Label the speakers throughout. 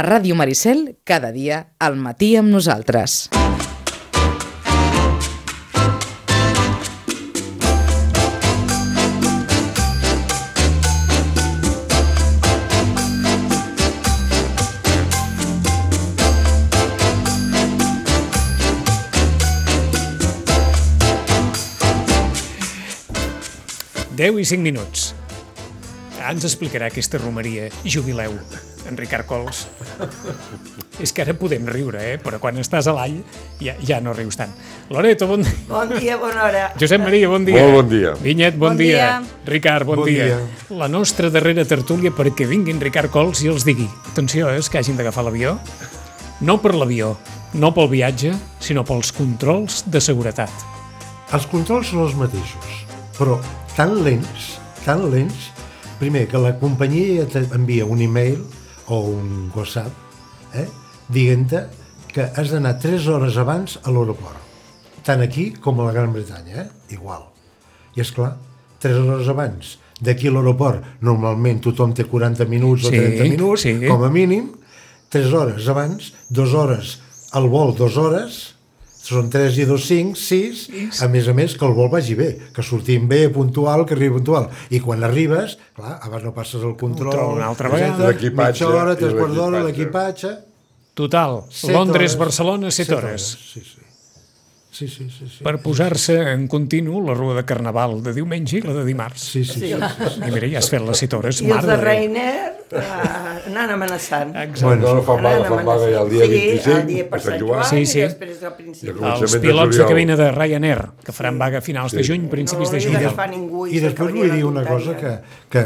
Speaker 1: A Ràdio Maricel, cada dia, al matí amb nosaltres.
Speaker 2: Deu i 5 minuts. Ara ens explicarà aquesta romeria jubileu, en Ricard Cols. És que ara podem riure, eh? però quan estàs a l'all ja, ja no rius tant. Loreto, bon dia.
Speaker 3: Bon dia, bona hora.
Speaker 2: Josep Maria, bon dia.
Speaker 4: Molt bon dia.
Speaker 2: Vinyet, bon,
Speaker 3: Bon
Speaker 2: dia.
Speaker 3: dia.
Speaker 2: Ricard, bon,
Speaker 4: Bon
Speaker 2: dia.
Speaker 4: dia.
Speaker 2: La nostra darrera tertúlia perquè vinguin Ricard Cols i els digui atenció, eh, és que hagin d'agafar l'avió. No per l'avió, no pel viatge, sinó pels controls de seguretat.
Speaker 5: Els controls són els mateixos, però tan lents, tan lents, primer que la companyia ja t'envia un e-mail o un whatsapp eh, dient-te que has d'anar 3 hores abans a l'aeroport, tant aquí com a la Gran Bretanya, eh? igual. I és clar, 3 hores abans d'aquí a l'aeroport, normalment tothom té 40 minuts
Speaker 2: Sí,
Speaker 5: o 30 minuts,
Speaker 2: sí.
Speaker 5: com a mínim, 3 hores abans, 2 hores al vol, 2 hores, són 3 i 2, 5, 6, a més a més que el vol vagi bé, que sortim bé, puntual, que arribi puntual. I quan arribes, clar, abans no passes el control,
Speaker 2: Control una altra
Speaker 5: etcètera,
Speaker 2: vegada.
Speaker 4: L'equipatge
Speaker 5: mitja hora,
Speaker 4: i
Speaker 5: tres quarts d'hora,
Speaker 4: l'equipatge.
Speaker 5: l'equipatge...
Speaker 2: Total,
Speaker 5: set hores.
Speaker 2: Londres-Barcelona, 7
Speaker 5: Set
Speaker 2: hores.
Speaker 5: Sí, sí. Sí, sí, sí. sí.
Speaker 2: per posar-se en continu la rua de Carnaval de diumenge i la de dimarts.
Speaker 5: Sí, sí, sí. sí.
Speaker 2: I mira, ja has fet les citores,
Speaker 3: I els
Speaker 2: mare de
Speaker 3: de
Speaker 2: Déu.
Speaker 3: Reiner eh, anant amenaçant.
Speaker 2: Exacte.
Speaker 4: Bueno, no fa vaga,
Speaker 3: Anant
Speaker 4: fa vaga ja el dia
Speaker 3: amenaçant. Sí,
Speaker 4: 25,
Speaker 3: el dia per Sant Joan
Speaker 2: Sí,
Speaker 3: sí,
Speaker 2: sí.
Speaker 3: sí. i després del
Speaker 4: I
Speaker 3: principi.
Speaker 4: el
Speaker 2: Els
Speaker 4: començament de
Speaker 2: pilots de
Speaker 4: juliol.
Speaker 2: cabina de Ryanair, que faran vaga a finals de juny, principis de
Speaker 3: No hauria
Speaker 2: juliol.
Speaker 3: d'agafar ningú.
Speaker 5: I després vull dir una cosa que, que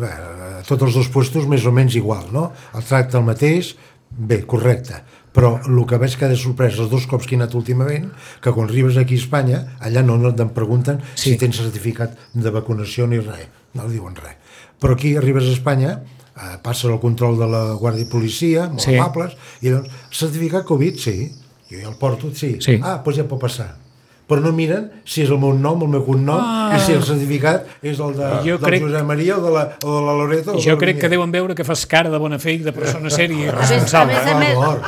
Speaker 5: bé, a tots els dos puestos més o menys igual, no? El tracte el mateix, bé, correcte. Però el que veig que ha de sorprès els dos cops que he anat últimament, que quan arribes aquí a Espanya, allà no, no et pregunten
Speaker 2: Sí.
Speaker 5: si tens certificat de vacunació ni res, no diuen res. Però aquí arribes a Espanya, eh, passes el control de la Guàrdia i Policia, molt
Speaker 2: Sí.
Speaker 5: sí. amables, i doncs, certificat Covid, sí, jo ja el porto, sí.
Speaker 2: Sí.
Speaker 5: Ah, doncs ja pot passar. Però no miren si és el meu nom, el meu cognom, ah. i si el certificat és el de,
Speaker 2: Jo
Speaker 5: del
Speaker 2: crec-
Speaker 5: Josep Maria o de la, o de la Loreto.
Speaker 2: Jo crec que deuen veure que fas cara de bona fe i de persona sèria i
Speaker 5: Per
Speaker 2: responsable.
Speaker 6: a més-
Speaker 5: favor,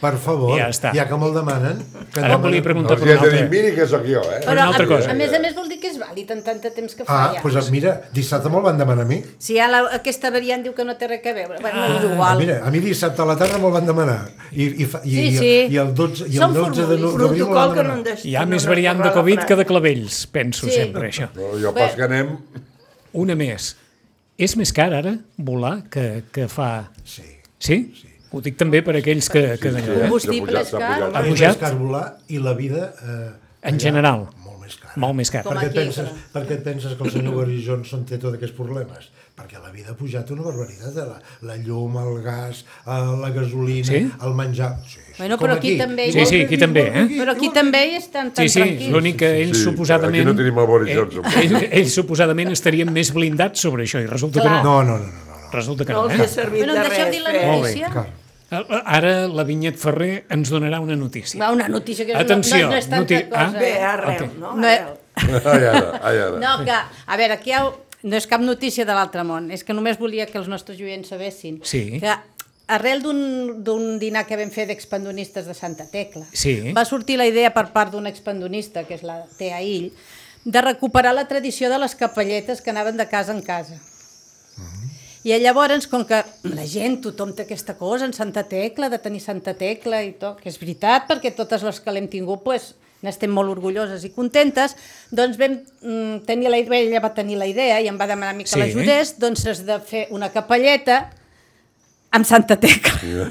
Speaker 5: per favor,
Speaker 2: Ja està.
Speaker 5: ja que me'l demanen... Que
Speaker 2: Ara volia
Speaker 4: No,
Speaker 2: preguntar
Speaker 4: els
Speaker 2: per
Speaker 4: hi
Speaker 2: una
Speaker 4: has de dir,
Speaker 2: altra.
Speaker 4: Doncs miri que sóc jo, eh?
Speaker 2: Però- una altra
Speaker 6: a,
Speaker 2: cosa.
Speaker 6: A més a més vol dir que és vàlid en tant de temps que fa
Speaker 5: Ah,
Speaker 6: ja.
Speaker 5: doncs pues, mira, dissabte me'l van demanar a mi.
Speaker 6: Si ja la, aquesta variant diu que no té res a veure, bueno, ah, és igual.
Speaker 5: Mira, a mi dissabte a la tarda me'l van demanar. I, i, fa- i,
Speaker 6: Sí,
Speaker 5: i-
Speaker 6: sí.
Speaker 5: i el 12, i
Speaker 6: Són
Speaker 5: el 12 de no-
Speaker 6: formulis.
Speaker 5: d'abril me'l
Speaker 3: Protocol
Speaker 5: van
Speaker 3: que no en
Speaker 5: demanar.
Speaker 3: deixa.
Speaker 2: Hi ha més variant de Covid que de clavells, penso
Speaker 6: Sí.
Speaker 2: sempre, això.
Speaker 4: Però jo pas que anem...
Speaker 2: Una més. És més car ara volar que, que fa...
Speaker 5: Sí.
Speaker 2: Sí? Ho dic també per aquells que... que d'allò, eh?
Speaker 6: Combustible és car.
Speaker 2: Ha
Speaker 5: És
Speaker 2: pujat?
Speaker 5: més car volar i la vida... Eh,
Speaker 2: En general,
Speaker 5: molt més cara.
Speaker 2: molt més car.
Speaker 6: Com
Speaker 5: perquè,
Speaker 6: aquí,
Speaker 5: et penses,
Speaker 6: però.
Speaker 5: perquè et penses que el senyor Boris Johnson té tots aquests problemes? Perquè la vida ha pujat una barbaritat. eh? La, la llum, el gas, eh, la gasolina,
Speaker 2: Sí?
Speaker 5: el menjar... Sí, sí.
Speaker 6: Bueno, però aquí també-
Speaker 2: Sí, sí, aquí també, eh?
Speaker 6: Però aquí també hi estan tan
Speaker 2: Sí, sí,
Speaker 6: tranquils.
Speaker 2: l'únic que ells
Speaker 4: Sí, sí,
Speaker 2: suposadament...
Speaker 4: aquí no tenim el Boris Johnson.
Speaker 2: Eh, Ells, ells suposadament estarien més blindats sobre això i resulta
Speaker 6: Clar.
Speaker 2: que no.
Speaker 5: No, no, no, no. no.
Speaker 2: Resulta que
Speaker 3: No
Speaker 2: no,
Speaker 3: els hi ha
Speaker 2: eh?
Speaker 3: servit
Speaker 6: Bueno,
Speaker 3: de
Speaker 6: em
Speaker 3: res.
Speaker 6: deixeu dir la
Speaker 3: eh?
Speaker 5: Molt bé,
Speaker 6: notícia?
Speaker 5: car.
Speaker 2: Ara la Vinyet Ferrer ens donarà una notícia.
Speaker 6: Va, una notícia que no-
Speaker 2: Atenció,
Speaker 6: no, no és tanta
Speaker 2: noti-
Speaker 6: cosa.
Speaker 2: ah.
Speaker 3: Bé,
Speaker 6: eh?
Speaker 3: arrel,
Speaker 2: Ok.
Speaker 3: no?
Speaker 6: No,
Speaker 3: Arrel.
Speaker 4: Ai, ara, ai, ara.
Speaker 6: No, que, a veure, aquí hi ha, no és cap notícia de l'altre món, és que només volia que els nostres oients sabessin
Speaker 2: Sí.
Speaker 6: que arrel d'un d'un dinar que vam fer d'expandonistes de Santa Tecla,
Speaker 2: Sí.
Speaker 6: va sortir la idea per part d'un expandonista, que és la Tea Ill, de recuperar la tradició de les capelletes que anaven de casa en casa. I eh, llavors, com que la gent, tothom té aquesta cosa en Santa Tecla, de tenir Santa Tecla i tot, que és veritat, perquè totes les que l'hem tingut, pues, n'estem molt orgulloses i contentes, doncs vam mm, tenir la idea, ella va tenir la idea i em va demanar a mi que
Speaker 2: Sí.
Speaker 6: sí. l'ajudés, doncs has de fer una capelleta amb Santa Tecla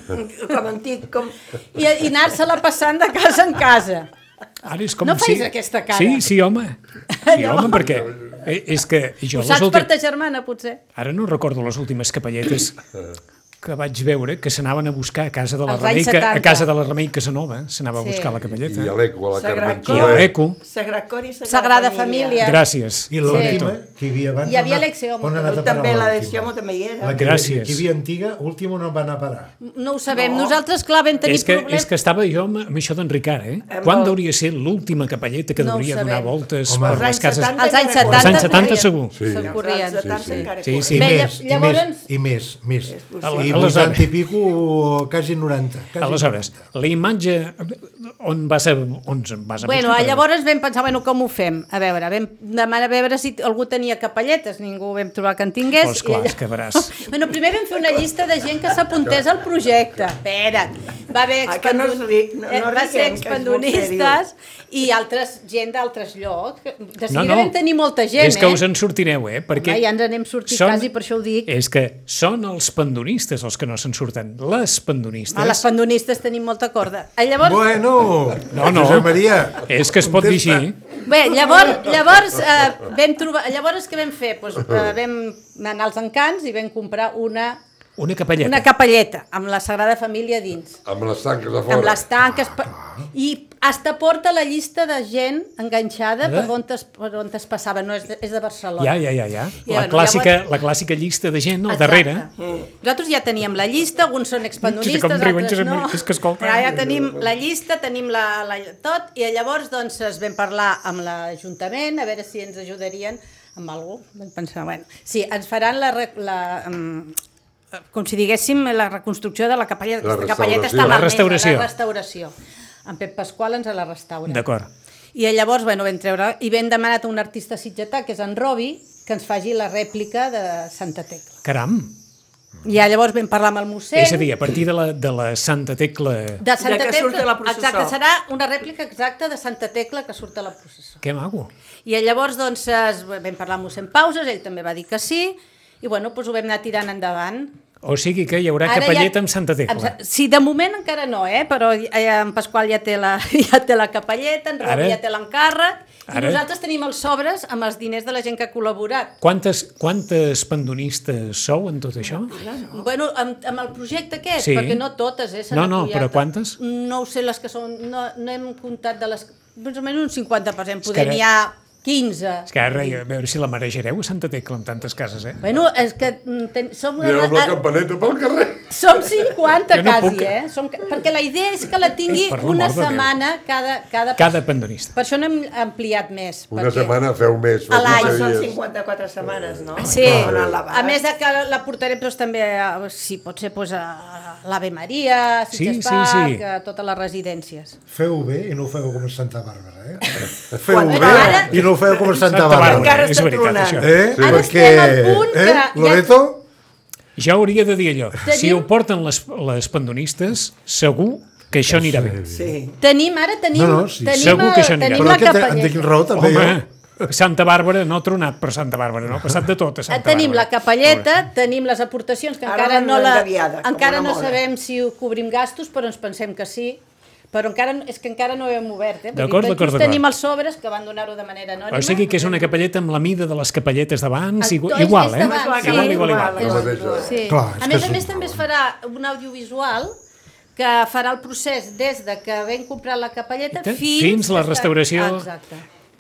Speaker 3: Com antic, com...
Speaker 6: i, i anar-se-la passant de casa en casa.
Speaker 2: Ara és com
Speaker 6: No
Speaker 2: si...
Speaker 6: facis aquesta cara.
Speaker 2: Sí, sí, home. Sí, home, perquè eh, és que jo
Speaker 6: Ho
Speaker 2: les
Speaker 6: saps per
Speaker 2: últimes...
Speaker 6: ta germana, potser?
Speaker 2: Ara no recordo les últimes capelletes que vaig veure que s'anaven a buscar a casa de la
Speaker 6: Als
Speaker 2: Remei,
Speaker 6: anys
Speaker 2: que, a
Speaker 6: 70.
Speaker 2: casa de la Remei Casanova, s'anava a
Speaker 6: Sí.
Speaker 2: buscar la
Speaker 4: I a E.
Speaker 2: capelleta.
Speaker 4: l'Eco, a la
Speaker 3: Sagrat
Speaker 4: Carmen
Speaker 2: I
Speaker 3: I
Speaker 2: a
Speaker 3: a
Speaker 4: Soler.
Speaker 2: l'Eco.
Speaker 3: Sagrada Cor i Sagrada,
Speaker 6: Sagrada Família.
Speaker 2: Gràcies.
Speaker 5: I l'última, que hi havia abans...
Speaker 6: Hi havia
Speaker 5: on ha-
Speaker 6: l'Exeomo,
Speaker 5: on ha
Speaker 6: que
Speaker 5: anat a parar
Speaker 3: També la de
Speaker 5: l'última?
Speaker 3: Xiamo també hi era.
Speaker 5: La que,
Speaker 2: Gràcies.
Speaker 5: Gràcies. Que hi havia antiga, última no va anar a parar.
Speaker 6: No ho sabem. No. Nosaltres, clar, vam tenir
Speaker 2: És que,
Speaker 6: problemes.
Speaker 2: és que estava jo amb amb això d'en Ricard, eh?
Speaker 3: Amb
Speaker 2: Quan
Speaker 3: el-
Speaker 2: hauria de ser l'última capelleta que
Speaker 6: No ho
Speaker 2: hauria de donar
Speaker 6: sabem.
Speaker 2: voltes
Speaker 5: Home,
Speaker 2: per les cases?
Speaker 6: Als anys
Speaker 2: anys
Speaker 3: Als
Speaker 6: 70,
Speaker 2: 70 segur.
Speaker 4: Sí.
Speaker 6: Se'n corrien.
Speaker 3: Als anys 70 encara
Speaker 2: Sí,
Speaker 3: corren.
Speaker 2: sí.
Speaker 6: Bé,
Speaker 5: més,
Speaker 6: llavors-
Speaker 5: i més, i més.
Speaker 3: possible.
Speaker 5: I
Speaker 2: Aleshores.
Speaker 5: 80 i pico, quasi 90. Quasi
Speaker 2: Aleshores, la imatge on va ser... On va ser
Speaker 6: Bueno, llavors vam pensar, bueno, com ho fem? A veure, vam demanar a veure si algú tenia capelletes, ningú vam trobar que en tingués.
Speaker 2: Doncs clar,
Speaker 6: i
Speaker 2: és que veràs.
Speaker 6: Bueno, primer vam fer una llista de gent que s'apuntés al projecte. Espera't. Va haver
Speaker 3: Ah, que no és ric- no- no
Speaker 6: eh, va
Speaker 3: riguem, que
Speaker 6: ser
Speaker 3: és molt
Speaker 6: expandonistes i altres gent d'altres llocs. De seguida
Speaker 2: No,
Speaker 6: no,
Speaker 2: no.
Speaker 6: vam tenir molta gent,
Speaker 2: és que
Speaker 6: eh?
Speaker 2: us en eh, sortireu, eh? Perquè
Speaker 6: Home, ja ens n'hem sortit quasi, per això ho dic.
Speaker 2: És que són els pandonistes els que no se'n surten. Les pandonistes...
Speaker 6: A les pandonistes tenim molta corda. Eh, Llavors,
Speaker 5: Bueno,
Speaker 2: No, no.
Speaker 5: Josep Maria.
Speaker 2: És que es pot dir així.
Speaker 6: Bé, llavors, llavors, eh, vam trobar, llavors què vam fer? Pues, eh, vam anar als encants i vam comprar una,
Speaker 2: Una capelleta.
Speaker 6: una capelleta amb la Sagrada Família dins.
Speaker 4: Amb les tanques a fora.
Speaker 6: Amb les tanques... pa- I hasta porta la llista de gent enganxada per
Speaker 2: Eh?
Speaker 6: on es, per on es passava, no és de, és de Barcelona.
Speaker 2: Ja, ja, ja, ja.
Speaker 6: Ja,
Speaker 2: La
Speaker 6: no,
Speaker 2: clàssica,
Speaker 6: llavors-
Speaker 2: la clàssica llista de gent al
Speaker 6: Exacte.
Speaker 2: darrere.
Speaker 6: Mm. Nosaltres ja teníem la llista, alguns són expandonistes,
Speaker 2: Com riuen,
Speaker 6: altres
Speaker 2: Josep
Speaker 6: no.
Speaker 2: Maria, és que escolta.
Speaker 6: Però ja tenim la llista, tenim la, la, tot, i llavors doncs, es vam parlar amb l'Ajuntament, a veure si ens ajudarien amb alguna cosa. Vam pensar, bueno, sí, ens faran la, re- la, mm, com si diguéssim la reconstrucció de la capella.
Speaker 4: La
Speaker 6: aquesta
Speaker 4: restauració.
Speaker 6: capelleta
Speaker 4: eh?
Speaker 6: està
Speaker 4: La
Speaker 6: malmesa,
Speaker 2: restauració.
Speaker 6: La restauració. En Pep Pasqual ens la restaura.
Speaker 2: D'acord.
Speaker 6: I llavors, bueno, vam treure... I vam demanar a un artista sitgetà, que és en Robi, que ens faci la rèplica de Santa Tecla.
Speaker 2: Caram.
Speaker 6: I ja llavors vam parlar amb el mossèn...
Speaker 2: És a dir, a partir de la, de la Santa Tecla...
Speaker 6: de Santa
Speaker 3: que
Speaker 6: Tecla,
Speaker 3: surt de la processó.
Speaker 6: Exacte, serà una rèplica exacta de Santa Tecla que surt a la processó.
Speaker 2: Que maco.
Speaker 6: I llavors doncs, es, vam parlar amb mossèn Pauses, ell també va dir que sí, i bueno, doncs ho vam anar tirant endavant.
Speaker 2: O sigui que hi haurà
Speaker 6: Ara
Speaker 2: capelleta amb Santa
Speaker 6: amb
Speaker 2: Tecla.
Speaker 6: Sa- sí, de moment encara no, eh? però eh, en Pasqual ja té la, ja té la capelleta, en
Speaker 2: Ara-
Speaker 6: Robi ja té l'encàrrec, i
Speaker 2: Ara-
Speaker 6: nosaltres tenim els sobres amb els diners de la gent que ha col·laborat.
Speaker 2: Quantes, quantes pandonistes sou en tot això?
Speaker 6: Bueno, amb, amb el projecte aquest,
Speaker 2: Sí.
Speaker 6: perquè no totes, eh? se
Speaker 2: No,
Speaker 6: n'ha
Speaker 2: no,
Speaker 6: collat.
Speaker 2: però quantes?
Speaker 6: No ho sé, les que són... No, no hem comptat de les... Més o menys un 50%,
Speaker 2: que
Speaker 6: poder
Speaker 2: ara-
Speaker 6: n'hi ha 15.
Speaker 2: És que ara, a veure si la marejareu a Santa Tecla amb tantes cases, eh?
Speaker 6: Bueno, és que mm, ten... som,
Speaker 4: I amb la
Speaker 6: una... ah,
Speaker 4: campaneta pel carrer.
Speaker 6: som 50
Speaker 2: Jo no
Speaker 6: quasi,
Speaker 2: puc.
Speaker 6: eh? Som... ca- Perquè la idea és que la tingui
Speaker 2: Eh, per l'amor
Speaker 6: una
Speaker 2: de Déu.
Speaker 6: setmana cada, cada...
Speaker 2: Cada pandonista.
Speaker 6: Per això n'hem ampliat més.
Speaker 4: Una
Speaker 6: perquè...
Speaker 4: setmana feu més. feu
Speaker 6: A l'any.
Speaker 4: quinze
Speaker 3: Són
Speaker 4: dies.
Speaker 3: 54 setmanes, no?
Speaker 6: Sí,
Speaker 3: No, no, la
Speaker 6: a més de que la portarem doncs, també, a, si pot ser, doncs, a l'Ave Maria, a
Speaker 2: Sí,
Speaker 6: Sitges
Speaker 2: sí,
Speaker 6: Park,
Speaker 2: sí.
Speaker 6: a totes les residències.
Speaker 5: Feu bé i no ho feu com a Santa Bàrbara, eh? Feu
Speaker 3: Quan-
Speaker 5: bé
Speaker 6: Ara-
Speaker 5: i no ho feu com a Santa
Speaker 2: Santa
Speaker 5: Bàrbara.
Speaker 2: Bàrbara.
Speaker 3: Encara
Speaker 2: és
Speaker 3: està
Speaker 2: veritat,
Speaker 3: tronant.
Speaker 2: això.
Speaker 5: Eh?
Speaker 6: Ara estem al punt que
Speaker 5: Eh?
Speaker 6: ja-
Speaker 5: Loreto?
Speaker 2: Ja hauria de dir allò.
Speaker 6: Tenim-
Speaker 2: Si ho porten les, les pandonistes, segur que això anirà bé.
Speaker 3: Sí.
Speaker 6: Tenim, ara tenim...
Speaker 5: No, no, sí.
Speaker 6: tenim,
Speaker 2: Segur que
Speaker 6: eh,
Speaker 2: això anirà.
Speaker 6: Tenim
Speaker 5: Però
Speaker 6: la
Speaker 5: que te- en
Speaker 6: capelleta.
Speaker 5: tinc raó també eh?
Speaker 2: Home,
Speaker 5: jo.
Speaker 2: Santa Bàrbara no ha tronat, però Santa Bàrbara no ha passat de tot a
Speaker 6: Eh,
Speaker 2: Santa
Speaker 6: Tenim la
Speaker 2: Bàrbara.
Speaker 6: capelleta, tenim les aportacions, que
Speaker 3: Ara
Speaker 6: encara
Speaker 3: van
Speaker 6: no, la,
Speaker 3: engabiada, com eh?
Speaker 6: encara
Speaker 3: una
Speaker 6: no
Speaker 3: moda.
Speaker 6: sabem si ho cobrim gastos, però ens pensem que sí. Però encara, és que encara no ho hem obert, eh? Vull dir,
Speaker 2: D'acord,
Speaker 6: tot
Speaker 2: d'acord,
Speaker 6: just
Speaker 2: d'acord.
Speaker 6: Tenim els sobres que van donar-ho de manera anònima.
Speaker 2: O sigui que és una capelleta amb la mida de les capelletes d'abans,
Speaker 6: Ah,
Speaker 2: igual,
Speaker 6: és-
Speaker 2: igual,
Speaker 6: és
Speaker 2: eh?
Speaker 6: d'abans,
Speaker 3: sí.
Speaker 2: Igual, igual, igual.
Speaker 4: La
Speaker 6: És-
Speaker 4: mateixa.
Speaker 6: Sí.
Speaker 5: Clar, és
Speaker 6: a
Speaker 5: que és
Speaker 6: més a
Speaker 5: un-
Speaker 6: més també es farà un audiovisual que farà el procés des de que vam comprar la capelleta
Speaker 2: Fins
Speaker 6: fins...
Speaker 2: la
Speaker 6: que està-
Speaker 2: restauració.
Speaker 6: Ah, Exacte.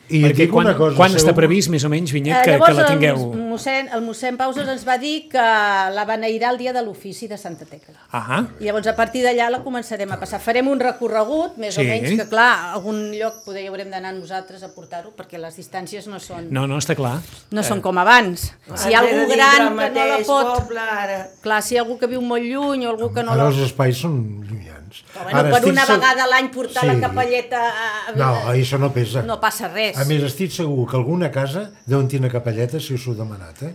Speaker 5: I et
Speaker 2: Perquè
Speaker 5: dic
Speaker 2: quan,
Speaker 5: una cosa,
Speaker 2: quan està
Speaker 5: segur-
Speaker 2: previst, més o menys, Vinyet,
Speaker 6: Eh,
Speaker 2: que, que la
Speaker 6: el
Speaker 2: tingueu...
Speaker 6: mos- mossèn, el mossèn Pauses ens va dir que la beneirà el dia de l'ofici de Santa Tecla.
Speaker 2: Ahà.
Speaker 6: I llavors, a partir d'allà la començarem a passar. Farem un recorregut, més
Speaker 2: Sí.
Speaker 6: o menys, que clar, a algun lloc poder hi haurem d'anar nosaltres a portar-ho, perquè les distàncies no són,
Speaker 2: No,
Speaker 6: no,
Speaker 2: no, està clar.
Speaker 6: són com abans. Si hi ha
Speaker 3: Ara Ah, he de
Speaker 6: algú
Speaker 3: dir del
Speaker 6: gran que no la
Speaker 3: mateix
Speaker 6: pot...
Speaker 3: Poble, ara.
Speaker 6: Clar, si hi ha algú que viu molt lluny o algú que no
Speaker 5: Ara
Speaker 6: la...
Speaker 5: els espais són llunyans.
Speaker 6: Però, bueno, per
Speaker 5: estic
Speaker 6: una
Speaker 5: segur-
Speaker 6: vegada a l'any portar
Speaker 5: Sí.
Speaker 6: la capelleta... A... a-
Speaker 5: No, això no pesa.
Speaker 6: no passa res.
Speaker 5: A més, estic segur que alguna casa deuen tenir una capelleta si us ho demanat, eh?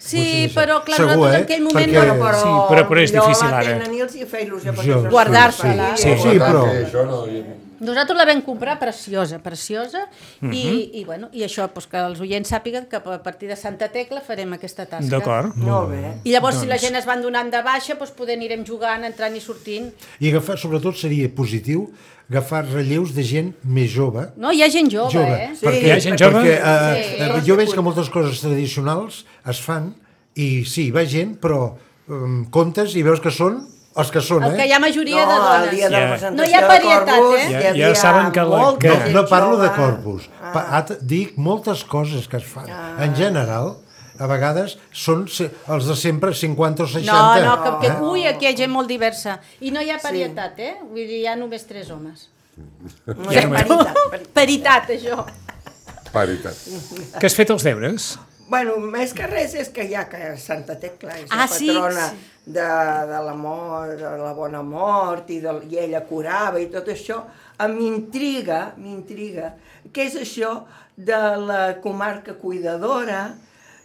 Speaker 6: sí,
Speaker 5: Vull dir,
Speaker 6: però clar,
Speaker 5: segur, eh?
Speaker 6: nosaltres en aquell moment
Speaker 5: Perquè-
Speaker 6: no...
Speaker 5: Però-
Speaker 2: Sí, però- però és
Speaker 3: jo
Speaker 2: difícil
Speaker 3: la
Speaker 2: ara.
Speaker 3: tenen i els hi fa il·lusió.
Speaker 5: Jo-
Speaker 3: perquè
Speaker 6: Guardar-se-la.
Speaker 5: Sí, sí,
Speaker 4: La tanca,
Speaker 5: però...
Speaker 4: Això no... i-
Speaker 6: Nosaltres la vam comprar preciosa, preciosa,
Speaker 2: Mhm.
Speaker 6: i, i, bueno, i això, doncs, que els oients sàpiguen que a partir de Santa Tecla farem aquesta tasca.
Speaker 2: D'acord.
Speaker 3: Molt bé.
Speaker 6: I llavors, si la
Speaker 2: Doncs-
Speaker 6: gent es van donant de baixa, doncs poder anirem jugant, entrant i sortint.
Speaker 5: I agafar, sobretot, seria positiu agafar relleus de gent més jove,
Speaker 6: No, hi ha gent jove,
Speaker 5: jove.
Speaker 6: eh?
Speaker 3: Sí.
Speaker 5: perquè,
Speaker 2: Hi ha gent jove?
Speaker 5: Perquè, eh,
Speaker 6: Sí.
Speaker 5: eh, jo veig que moltes coses tradicionals es fan i sí, va gent, però um, comptes i veus que són els que són,
Speaker 6: El que
Speaker 5: eh?
Speaker 6: hi ha majoria
Speaker 3: no,
Speaker 6: de
Speaker 3: El
Speaker 6: dones.
Speaker 3: dia de la
Speaker 2: Ja.
Speaker 3: presentació
Speaker 6: No hi ha varietat,
Speaker 3: de Corpus,
Speaker 6: eh?
Speaker 2: Ja- ja saben que la-
Speaker 3: molta
Speaker 2: que-
Speaker 5: No,
Speaker 3: gent
Speaker 5: no parlo
Speaker 3: jove. Ah.
Speaker 5: de corpus, pa, at, dic moltes coses que es fan. En general, a vegades són se- els de sempre 50 o 60.
Speaker 6: No, no, que, que
Speaker 5: eh?
Speaker 6: ui, aquí hi ha gent molt diversa. I no hi ha parietat, eh? Vull dir, hi ha només tres homes.
Speaker 3: No hi ha varietat.
Speaker 6: Paritat, això.
Speaker 4: Paritat.
Speaker 2: Que has fet els deures?
Speaker 3: Bueno, més que res és que hi ha que Santa Tecla és
Speaker 6: Ah,
Speaker 3: la
Speaker 6: sí?
Speaker 3: patrona
Speaker 6: Sí.
Speaker 3: de, de la mort, de la bona mort, i, de, i ella curava i tot això. A m'intriga, m'intriga, què és això de la comarca cuidadora,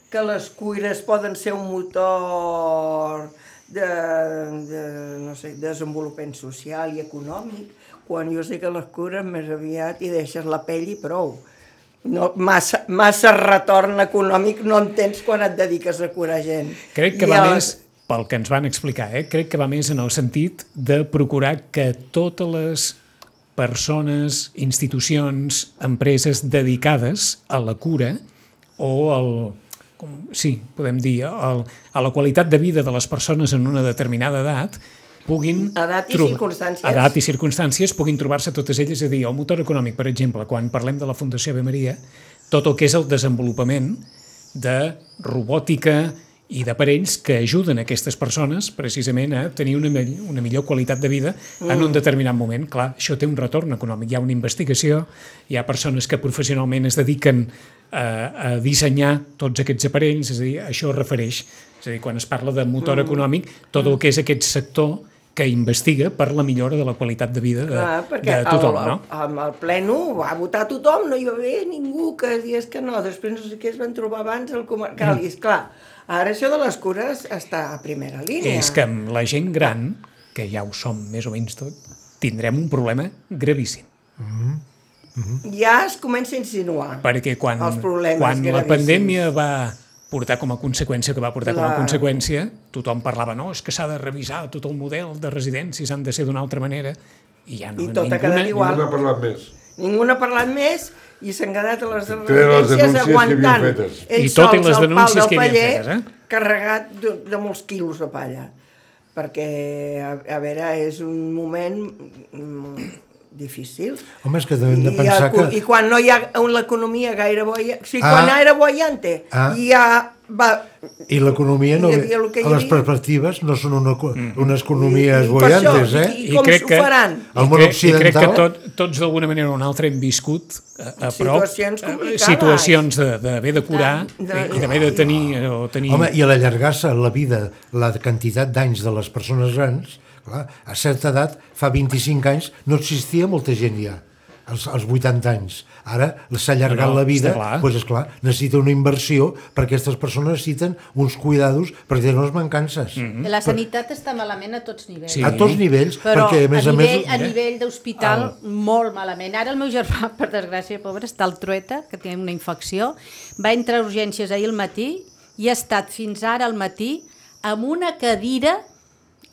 Speaker 3: que les cuires poden ser un motor de, de no sé, desenvolupament social i econòmic, quan jo sé que les cures més aviat hi deixes la pell i prou. No, massa, massa retorn econòmic no en tens quan et dediques a curar gent.
Speaker 2: Crec que
Speaker 3: I
Speaker 2: va
Speaker 3: a
Speaker 2: més,
Speaker 3: les-
Speaker 2: pel que ens van explicar, eh? crec que va més en el sentit de procurar que totes les persones, institucions, empreses dedicades a la cura o al, com, sí, podem dir, al, a la qualitat de vida de les persones en una determinada edat, puguin...
Speaker 3: Edat i
Speaker 2: trobar-
Speaker 3: circumstàncies.
Speaker 2: Edat i circumstàncies puguin trobar-se totes elles, és a dir, el motor econòmic, per exemple, quan parlem de la Fundació Ave Maria, tot el que és el desenvolupament de robòtica i d'aparells que ajuden aquestes persones precisament a tenir una, mell- una millor qualitat de vida en
Speaker 3: Mm.
Speaker 2: un determinat moment. Clar, això té un retorn econòmic. Hi ha una investigació, hi ha persones que professionalment es dediquen a, a dissenyar tots aquests aparells, és a dir, això es refereix. És a dir, quan es parla de
Speaker 3: Mm.
Speaker 2: motor econòmic, tot el que és aquest sector que investiga per la millora de la qualitat de vida de,
Speaker 3: Clar,
Speaker 2: eh, de
Speaker 3: Ah, perquè
Speaker 2: tothom,
Speaker 3: el,
Speaker 2: no?
Speaker 3: el, amb el pleno va votar tothom, no hi va haver ningú que digués que no. Després no sé què es van trobar abans el comarcal. Mm. I esclar, ara això de les cures està a primera línia.
Speaker 2: És que amb la gent gran, que ja ho som més o menys tot, tindrem un problema gravíssim.
Speaker 3: Ja es comença a insinuar.
Speaker 2: Perquè quan,
Speaker 3: Els problemes
Speaker 2: quan la
Speaker 3: gravíssims.
Speaker 2: pandèmia va portar com a conseqüència, que va portar com a
Speaker 3: Clar.
Speaker 2: conseqüència, tothom parlava, no, és que s'ha de revisar tot el model de residències, han de ser d'una altra manera, i ja no,
Speaker 3: I tota tot ha
Speaker 2: ninguna-
Speaker 3: quedat
Speaker 4: No
Speaker 3: igual.
Speaker 4: n'ha parlat més.
Speaker 3: Ningú n'ha parlat més i s'han quedat a les
Speaker 4: Treien les
Speaker 3: residències
Speaker 4: denúncies que havien
Speaker 3: aguantant.
Speaker 4: fetes.
Speaker 2: I tot i
Speaker 3: sols,
Speaker 2: les
Speaker 3: el
Speaker 2: denúncies
Speaker 3: pal del
Speaker 2: que havien
Speaker 3: paller,
Speaker 2: fetes, eh?
Speaker 3: Carregat de, de molts quilos de palla. Perquè, a, a veure, és un moment mm, difícil.
Speaker 5: Home, és que hem de
Speaker 3: I
Speaker 5: pensar
Speaker 3: el cu-
Speaker 5: que-
Speaker 3: I quan no hi ha una economia gaire boia... O sigui,
Speaker 5: Ah.
Speaker 3: quan era boiante,
Speaker 5: Ah.
Speaker 3: ja va...
Speaker 5: I l'economia no...
Speaker 3: Hi havia el que hi
Speaker 5: a les
Speaker 3: havia.
Speaker 5: perspectives no són una, eco-
Speaker 2: Mm.
Speaker 5: unes
Speaker 3: I
Speaker 5: economies
Speaker 3: per això,
Speaker 5: boiantes, eh?
Speaker 3: I com s'ho faran?
Speaker 2: i
Speaker 5: El món
Speaker 2: crec- I crec que
Speaker 5: occidental-
Speaker 2: tot, tots d'alguna manera o una altra hem viscut a, a prop eh,
Speaker 3: Situacions complicades.
Speaker 2: situacions de- d'haver de, de curar
Speaker 3: De-
Speaker 2: i d'haver de tenir eh, o tenir...
Speaker 5: Home, i a l'allargar-se la vida, la quantitat d'anys de les persones grans, clar, a certa edat, fa 25 anys, no existia molta gent ja, als, als 80 anys. Ara s'ha allargat
Speaker 2: No, no,
Speaker 5: la vida,
Speaker 2: està clar.
Speaker 5: doncs és clar, necessita una inversió, perquè aquestes persones necessiten uns cuidados per tenir unes mancances. Mm
Speaker 6: La sanitat està malament a tots nivells.
Speaker 2: Mhm. Sí.
Speaker 5: A tots nivells,
Speaker 6: Però
Speaker 5: perquè a més a,
Speaker 6: nivell,
Speaker 5: més... eh, ah,
Speaker 6: a nivell d'hospital, molt malament. Ara el meu germà, per desgràcia, pobre, està al trueta, que té una infecció. Va entrar a urgències ahir al matí i ha estat fins ara al matí amb una cadira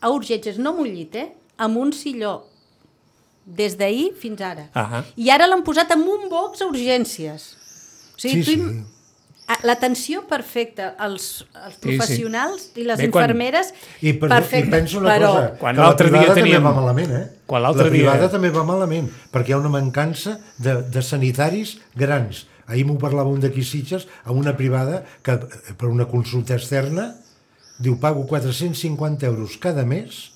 Speaker 6: a urgències, no amb un llit, eh? amb un silló, des d'ahir fins ara.
Speaker 2: Ahà.
Speaker 6: I ara l'han posat amb un box a urgències. O sigui,
Speaker 5: Sí,
Speaker 6: tu im-
Speaker 5: sí.
Speaker 6: Ah, L'atenció perfecta, els, els
Speaker 2: sí.
Speaker 6: professionals i les
Speaker 2: Bé, quan-
Speaker 6: infermeres,
Speaker 5: I, per, I
Speaker 6: perfectes,
Speaker 5: penso una
Speaker 6: però...
Speaker 5: cosa,
Speaker 2: Quan
Speaker 5: que la
Speaker 2: l'altre dia
Speaker 5: privada
Speaker 2: teníem-
Speaker 5: també va malament, eh?
Speaker 2: Quan l'altre
Speaker 5: la privada
Speaker 2: dia-
Speaker 5: també va malament, perquè hi ha una mancança de, de sanitaris grans. Ahir m'ho parlava un d'aquí Sitges, a una privada que eh, per una consulta externa diu pago 450 euros cada mes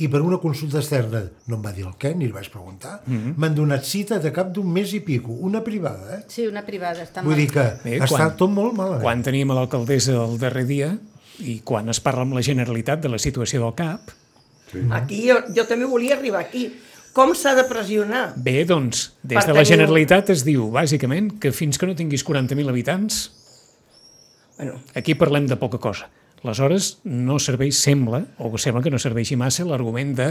Speaker 5: i per una consulta externa, no em va dir el què, ni li vaig preguntar, m'han
Speaker 2: Mm-hmm.
Speaker 5: donat cita de cap d'un mes i pico, una privada, eh?
Speaker 6: Sí, una privada, està
Speaker 5: Vull dir que
Speaker 2: Bé,
Speaker 5: està
Speaker 2: quan-
Speaker 5: tot molt malament.
Speaker 2: Quan teníem a l'alcaldessa el darrer dia i quan es parla amb la Generalitat de la situació del CAP,
Speaker 3: Aquí jo, jo també volia arribar aquí. Com s'ha de pressionar?
Speaker 2: bé, doncs, des
Speaker 3: Per
Speaker 2: de la
Speaker 3: tenir-
Speaker 2: Generalitat es diu, bàsicament, que fins que no tinguis 40.000 habitants,
Speaker 3: Bueno,
Speaker 2: aquí parlem de poca cosa. Aleshores, no serveix, sembla, o sembla que no serveixi massa, l'argument de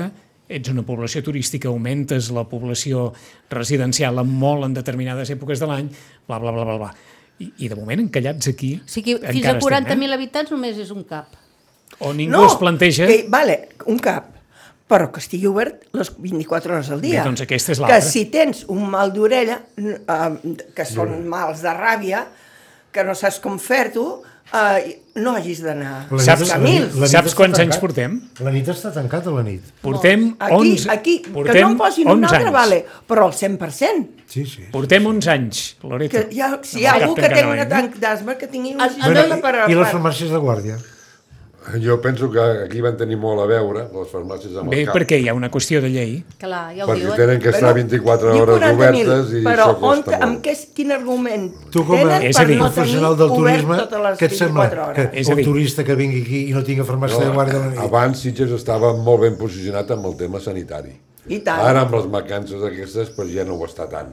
Speaker 2: ets una població turística, augmentes la població residencial en molt en determinades èpoques de l'any, bla, bla, bla, bla, bla. I, I de moment, encallats aquí,
Speaker 6: O sigui, fins a
Speaker 5: eh?
Speaker 2: encara estem,
Speaker 6: 40.000 habitants només és un cap.
Speaker 2: eh? O ningú no, es planteja...
Speaker 3: Que, vale, un cap, però que estigui obert les 24 hores al dia.
Speaker 2: Bé, doncs aquesta és l'altra.
Speaker 3: Que si tens un mal d'orella, n- eh, que són mals de ràbia, que no saps com fer-t'ho, eh, no hagis d'anar
Speaker 5: La nit-
Speaker 2: Saps-
Speaker 5: la
Speaker 3: a
Speaker 5: nit-
Speaker 3: mil.
Speaker 5: la nit
Speaker 2: Saps
Speaker 5: està
Speaker 2: quants anys
Speaker 5: tancat.
Speaker 2: portem?
Speaker 5: La nit està tancada, la nit.
Speaker 2: Portem
Speaker 3: Aquí,
Speaker 2: 11,
Speaker 3: aquí, que
Speaker 2: portem
Speaker 3: no em posin un
Speaker 2: 11
Speaker 3: altre,
Speaker 2: anys.
Speaker 3: vale, però al 100%.
Speaker 5: Sí, sí.
Speaker 2: Portem 11 anys, Loreto.
Speaker 3: Que hi ha, si hi ha
Speaker 2: Amb el
Speaker 3: algú
Speaker 2: cap
Speaker 3: que té
Speaker 2: tancant,
Speaker 3: un
Speaker 2: eh?
Speaker 3: atac d'asma, que tingui un
Speaker 6: El- el
Speaker 3: sistema
Speaker 6: noi-
Speaker 3: per...
Speaker 5: I les
Speaker 3: per-
Speaker 5: farmàcies de guàrdia?
Speaker 4: Jo penso que aquí van tenir molt a veure les farmàcies amb
Speaker 2: Bé,
Speaker 4: el cap.
Speaker 2: perquè hi ha una qüestió de llei.
Speaker 6: Clar, ja ho
Speaker 4: perquè
Speaker 6: diuen.
Speaker 4: tenen que estar 24
Speaker 3: Diu
Speaker 4: hores
Speaker 3: 40.000,
Speaker 4: obertes i
Speaker 3: però
Speaker 4: això
Speaker 3: on,
Speaker 4: costa
Speaker 3: amb
Speaker 4: molt.
Speaker 3: què, quin argument
Speaker 5: Tu com a
Speaker 3: tenen
Speaker 2: És a
Speaker 3: per
Speaker 2: dir-
Speaker 3: no
Speaker 5: professional
Speaker 3: tenir
Speaker 5: del
Speaker 3: obert
Speaker 5: turisme,
Speaker 3: totes les
Speaker 5: què et sembla?
Speaker 3: 24
Speaker 5: Que
Speaker 3: hores?
Speaker 2: És a
Speaker 5: un
Speaker 2: dir-
Speaker 5: turista que vingui aquí i no tingui farmàcia de guàrdia de la nit.
Speaker 4: Abans Sitges estava molt ben posicionat amb el tema sanitari.
Speaker 3: I tant.
Speaker 4: Ara amb les mancances aquestes pues, ja no ho està tant.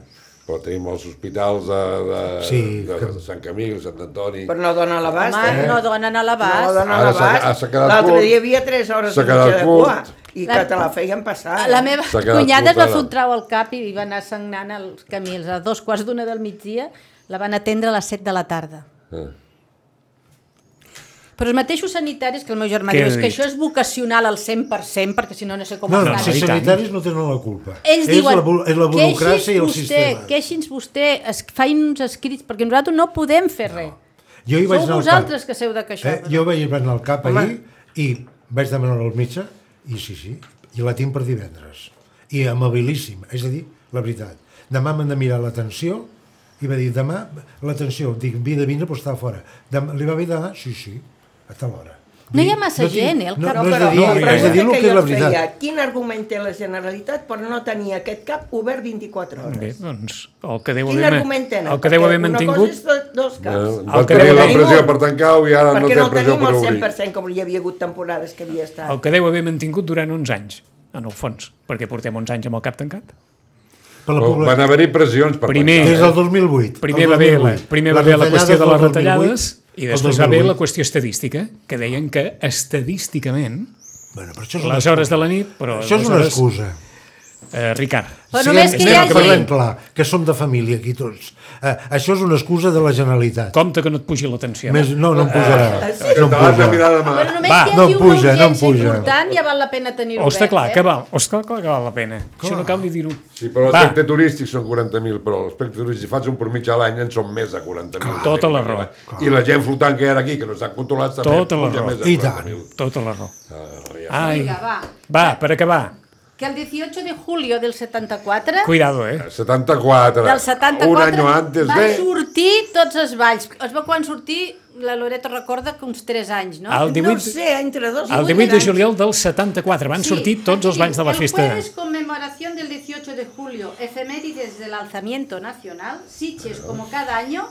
Speaker 4: Però tenim els hospitals de, de,
Speaker 5: Sí,
Speaker 4: de,
Speaker 5: que-
Speaker 4: de Sant Camí, Sant Antoni...
Speaker 3: Però no dona l'abast,
Speaker 6: Home,
Speaker 3: eh?
Speaker 6: no donen a l'abast.
Speaker 3: No dona
Speaker 4: Ara s'ha- ah,
Speaker 3: l'abast.
Speaker 4: s'ha quedat
Speaker 3: L'altre
Speaker 4: curt.
Speaker 3: dia hi havia 3 hores de
Speaker 4: S'ha
Speaker 3: mitja
Speaker 4: quedat
Speaker 3: de cua
Speaker 4: curt.
Speaker 3: i
Speaker 6: La-
Speaker 3: que te la feien passar. eh?
Speaker 6: La meva
Speaker 4: S'ha quedat
Speaker 6: cunyada es va
Speaker 4: esgotada.
Speaker 6: fer un trau al cap i va anar sagnant el camí. A dos quarts d'una del migdia la van atendre a les 7 de la tarda.
Speaker 4: Ah.
Speaker 6: Però els mateixos sanitaris, que el meu germà
Speaker 2: Què
Speaker 6: diu,
Speaker 2: ha
Speaker 6: és que
Speaker 2: dit?
Speaker 6: això és vocacional al 100%, perquè si no no sé com
Speaker 5: No,
Speaker 6: es
Speaker 5: no,
Speaker 6: fa.
Speaker 2: i
Speaker 5: si els
Speaker 2: tant.
Speaker 5: sanitaris no tenen la culpa. és
Speaker 6: Ells diuen,
Speaker 5: la, bu- és la burocràcia i el sistema.
Speaker 6: Queixi'ns vostè, es, fain uns escrits, perquè nosaltres no podem fer res.
Speaker 5: Jo hi vaig
Speaker 6: Sou
Speaker 5: anar al
Speaker 6: vosaltres
Speaker 5: cap.
Speaker 6: que seu de queixar.
Speaker 5: Eh? Jo vaig anar al cap
Speaker 3: Home.
Speaker 5: ahir i vaig demanar al metge i sí, sí, i la tinc per divendres. I amabilíssim, és a dir, la veritat. Demà m'han de mirar l'atenció i va dir, demà, l'atenció, dic, havia de vindre però estava fora. Dem li va haver demà? Sí, sí, a l'hora.
Speaker 6: No hi ha massa gent, eh, al
Speaker 5: no,
Speaker 6: cap.
Speaker 5: no, és
Speaker 3: però
Speaker 5: de dir,
Speaker 2: la
Speaker 5: no, és
Speaker 3: pregunta
Speaker 5: de dir el
Speaker 3: que
Speaker 5: que
Speaker 3: jo
Speaker 5: és la
Speaker 3: et
Speaker 5: veritat.
Speaker 3: feia, quin argument té la Generalitat per no tenir aquest cap obert 24 hores?
Speaker 2: Bé, doncs, el que deu
Speaker 3: Quin
Speaker 2: haver,
Speaker 3: argument tenen?
Speaker 2: el que deu
Speaker 3: Perquè
Speaker 2: haver mantingut...
Speaker 3: Una cosa és de- dos caps.
Speaker 4: Bueno,
Speaker 2: El
Speaker 4: Van
Speaker 2: que
Speaker 4: tenir
Speaker 2: deu
Speaker 4: la
Speaker 2: haver-
Speaker 4: pressió per tancar i ara no
Speaker 3: perquè
Speaker 4: té
Speaker 3: no
Speaker 4: pressió
Speaker 3: tenim
Speaker 4: per
Speaker 3: el
Speaker 4: obrir.
Speaker 3: 100% com hi havia hagut temporades que havia estat.
Speaker 2: El que deu haver mantingut durant uns anys, en el fons, perquè portem uns anys amb el cap tancat.
Speaker 5: Per la
Speaker 4: Però
Speaker 5: població.
Speaker 4: Van haver-hi pressions per
Speaker 2: Primer-
Speaker 5: Des
Speaker 4: tancar.
Speaker 5: del 2008.
Speaker 2: Oh, eh, Primer
Speaker 5: el
Speaker 2: va haver la,
Speaker 5: 2008.
Speaker 2: primer va haver la qüestió de les
Speaker 5: del 2008,
Speaker 2: retallades i
Speaker 5: el
Speaker 2: després va haver la
Speaker 5: 2008.
Speaker 2: qüestió estadística, que deien que estadísticament
Speaker 5: Bueno, però això és una
Speaker 2: les hores de la nit... Però
Speaker 5: Això és
Speaker 2: les
Speaker 5: una
Speaker 2: hores-
Speaker 5: excusa.
Speaker 2: Eh, Ricard,
Speaker 6: Però
Speaker 5: Siguem-
Speaker 6: només que hi
Speaker 5: anem
Speaker 6: hagi-
Speaker 5: Parlem clar, que som de família aquí tots. Eh, això és una excusa de la Generalitat.
Speaker 2: compte que no et pugi la tensió.
Speaker 5: Més, no, no em pujarà.
Speaker 3: sí?
Speaker 5: No em
Speaker 4: T'has de
Speaker 5: pujarà.
Speaker 4: mirar demà.
Speaker 6: Però només
Speaker 2: Va,
Speaker 6: que hi
Speaker 5: no
Speaker 6: hagi una
Speaker 5: puja, no em
Speaker 6: audiència
Speaker 5: puja.
Speaker 6: important ja val la pena tenir-ho
Speaker 2: Hosta, clar,
Speaker 6: eh?
Speaker 2: que val, hosta, clar, que val la pena. Això no cal ni dir-ho.
Speaker 4: Sí,
Speaker 2: Va.
Speaker 4: però l'aspecte turístic són 40.000, però l'aspecte turístic, si fas un per mitja a l'any, en són més de 40.000.
Speaker 2: Tota la raó.
Speaker 4: I la gent flotant que hi era aquí, que no s'han controlat, també
Speaker 2: Tota la
Speaker 4: puja
Speaker 2: raó.
Speaker 4: més de
Speaker 5: I tant.
Speaker 4: 40.000.
Speaker 2: Tota la raó.
Speaker 4: Ah,
Speaker 2: Ai.
Speaker 6: Vinga, va.
Speaker 2: Va, per acabar.
Speaker 6: Que el 18 de julio del 74...
Speaker 2: Cuidado, eh?
Speaker 4: ja. 74.
Speaker 6: del 74
Speaker 4: Un any antes
Speaker 6: van
Speaker 4: de...
Speaker 6: sortir tots els balls. Es va quan sortir, la Loreto recorda que uns 3 anys, no?
Speaker 2: El
Speaker 3: No
Speaker 2: 18,
Speaker 3: sé, entre dos i
Speaker 2: el 18
Speaker 3: vuit
Speaker 2: de
Speaker 3: anys.
Speaker 2: juliol del 74 van sortir tots els banys de la festa.
Speaker 6: El jueves conmemoración del 18 de julio, efemérides del alzamiento nacional, Sitges, como cada año,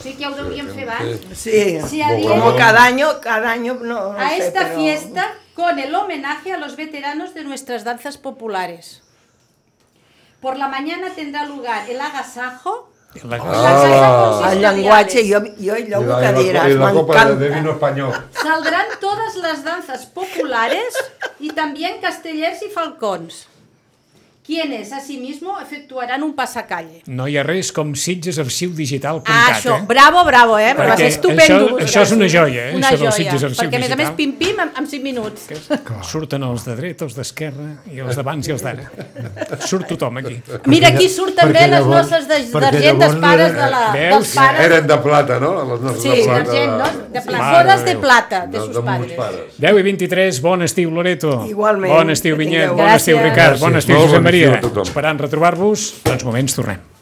Speaker 6: sí que ja ho devíem fer abans,
Speaker 3: Sí.
Speaker 6: se adhiere
Speaker 3: Como cada año, cada año no, no
Speaker 6: a
Speaker 3: sé,
Speaker 6: esta
Speaker 3: pero-
Speaker 6: fiesta con el homenaje a los veteranos de nuestras danzas populares. Por la mañana tendrà lugar el agasajo,
Speaker 2: La...
Speaker 5: Ah,
Speaker 6: las danzas
Speaker 3: El
Speaker 6: consistoriales.
Speaker 3: llenguatge, jo, jo i
Speaker 4: I
Speaker 3: llogo
Speaker 4: la,
Speaker 3: que
Speaker 4: i la,
Speaker 3: diràs,
Speaker 4: i la copa de, de vino
Speaker 3: m'encanta.
Speaker 4: espanyol.
Speaker 6: Saldrán todas las danzas populares y también castellers y falcons, quienes asimismo efectuarán un pasacalle.
Speaker 2: No hi ha res com Sitges Arxiu Digital.
Speaker 6: Ah, això, bravo, bravo, eh? Però va
Speaker 2: Perquè
Speaker 6: ser estupendo.
Speaker 2: això-
Speaker 6: buscar.
Speaker 2: això és una joia, eh?
Speaker 6: Una
Speaker 2: Això del
Speaker 6: joia,
Speaker 2: Sitges Arxiu
Speaker 6: perquè a més a més
Speaker 2: Digital.
Speaker 6: pim-pim en, en 5 minuts.
Speaker 2: Surten els de dreta, els d'esquerra, i els d'abans i els d'ara. Surt tothom aquí.
Speaker 6: Mira, aquí surt també
Speaker 5: perquè
Speaker 6: les
Speaker 5: llavors-
Speaker 6: nostres de,
Speaker 5: perquè
Speaker 6: d'argent
Speaker 5: llavors
Speaker 6: dels
Speaker 5: no
Speaker 6: pares
Speaker 5: era-
Speaker 6: de la,
Speaker 2: Veus?
Speaker 6: dels pares.
Speaker 4: Eren de plata, no? Les nostres
Speaker 6: Sí,
Speaker 4: de plata.
Speaker 6: d'argent, no? De
Speaker 2: Mare
Speaker 6: plazones de
Speaker 2: Déu.
Speaker 6: plata, de,
Speaker 4: De,
Speaker 6: sus
Speaker 4: de molts
Speaker 6: pares.
Speaker 4: pares.
Speaker 2: 10 i 23, bon estiu, Loreto.
Speaker 3: Igualment.
Speaker 2: Bon estiu,
Speaker 3: Que
Speaker 2: Vinyet.
Speaker 3: tingueu
Speaker 2: Bon estiu,
Speaker 6: Gràcies.
Speaker 2: Ricard. Bon
Speaker 4: Gràcies.
Speaker 2: estiu,
Speaker 4: Molt
Speaker 2: Josep
Speaker 4: bon
Speaker 2: Maria.
Speaker 4: estiu a tothom.
Speaker 2: Esperant retrobar-vos. Doncs moments, tornem.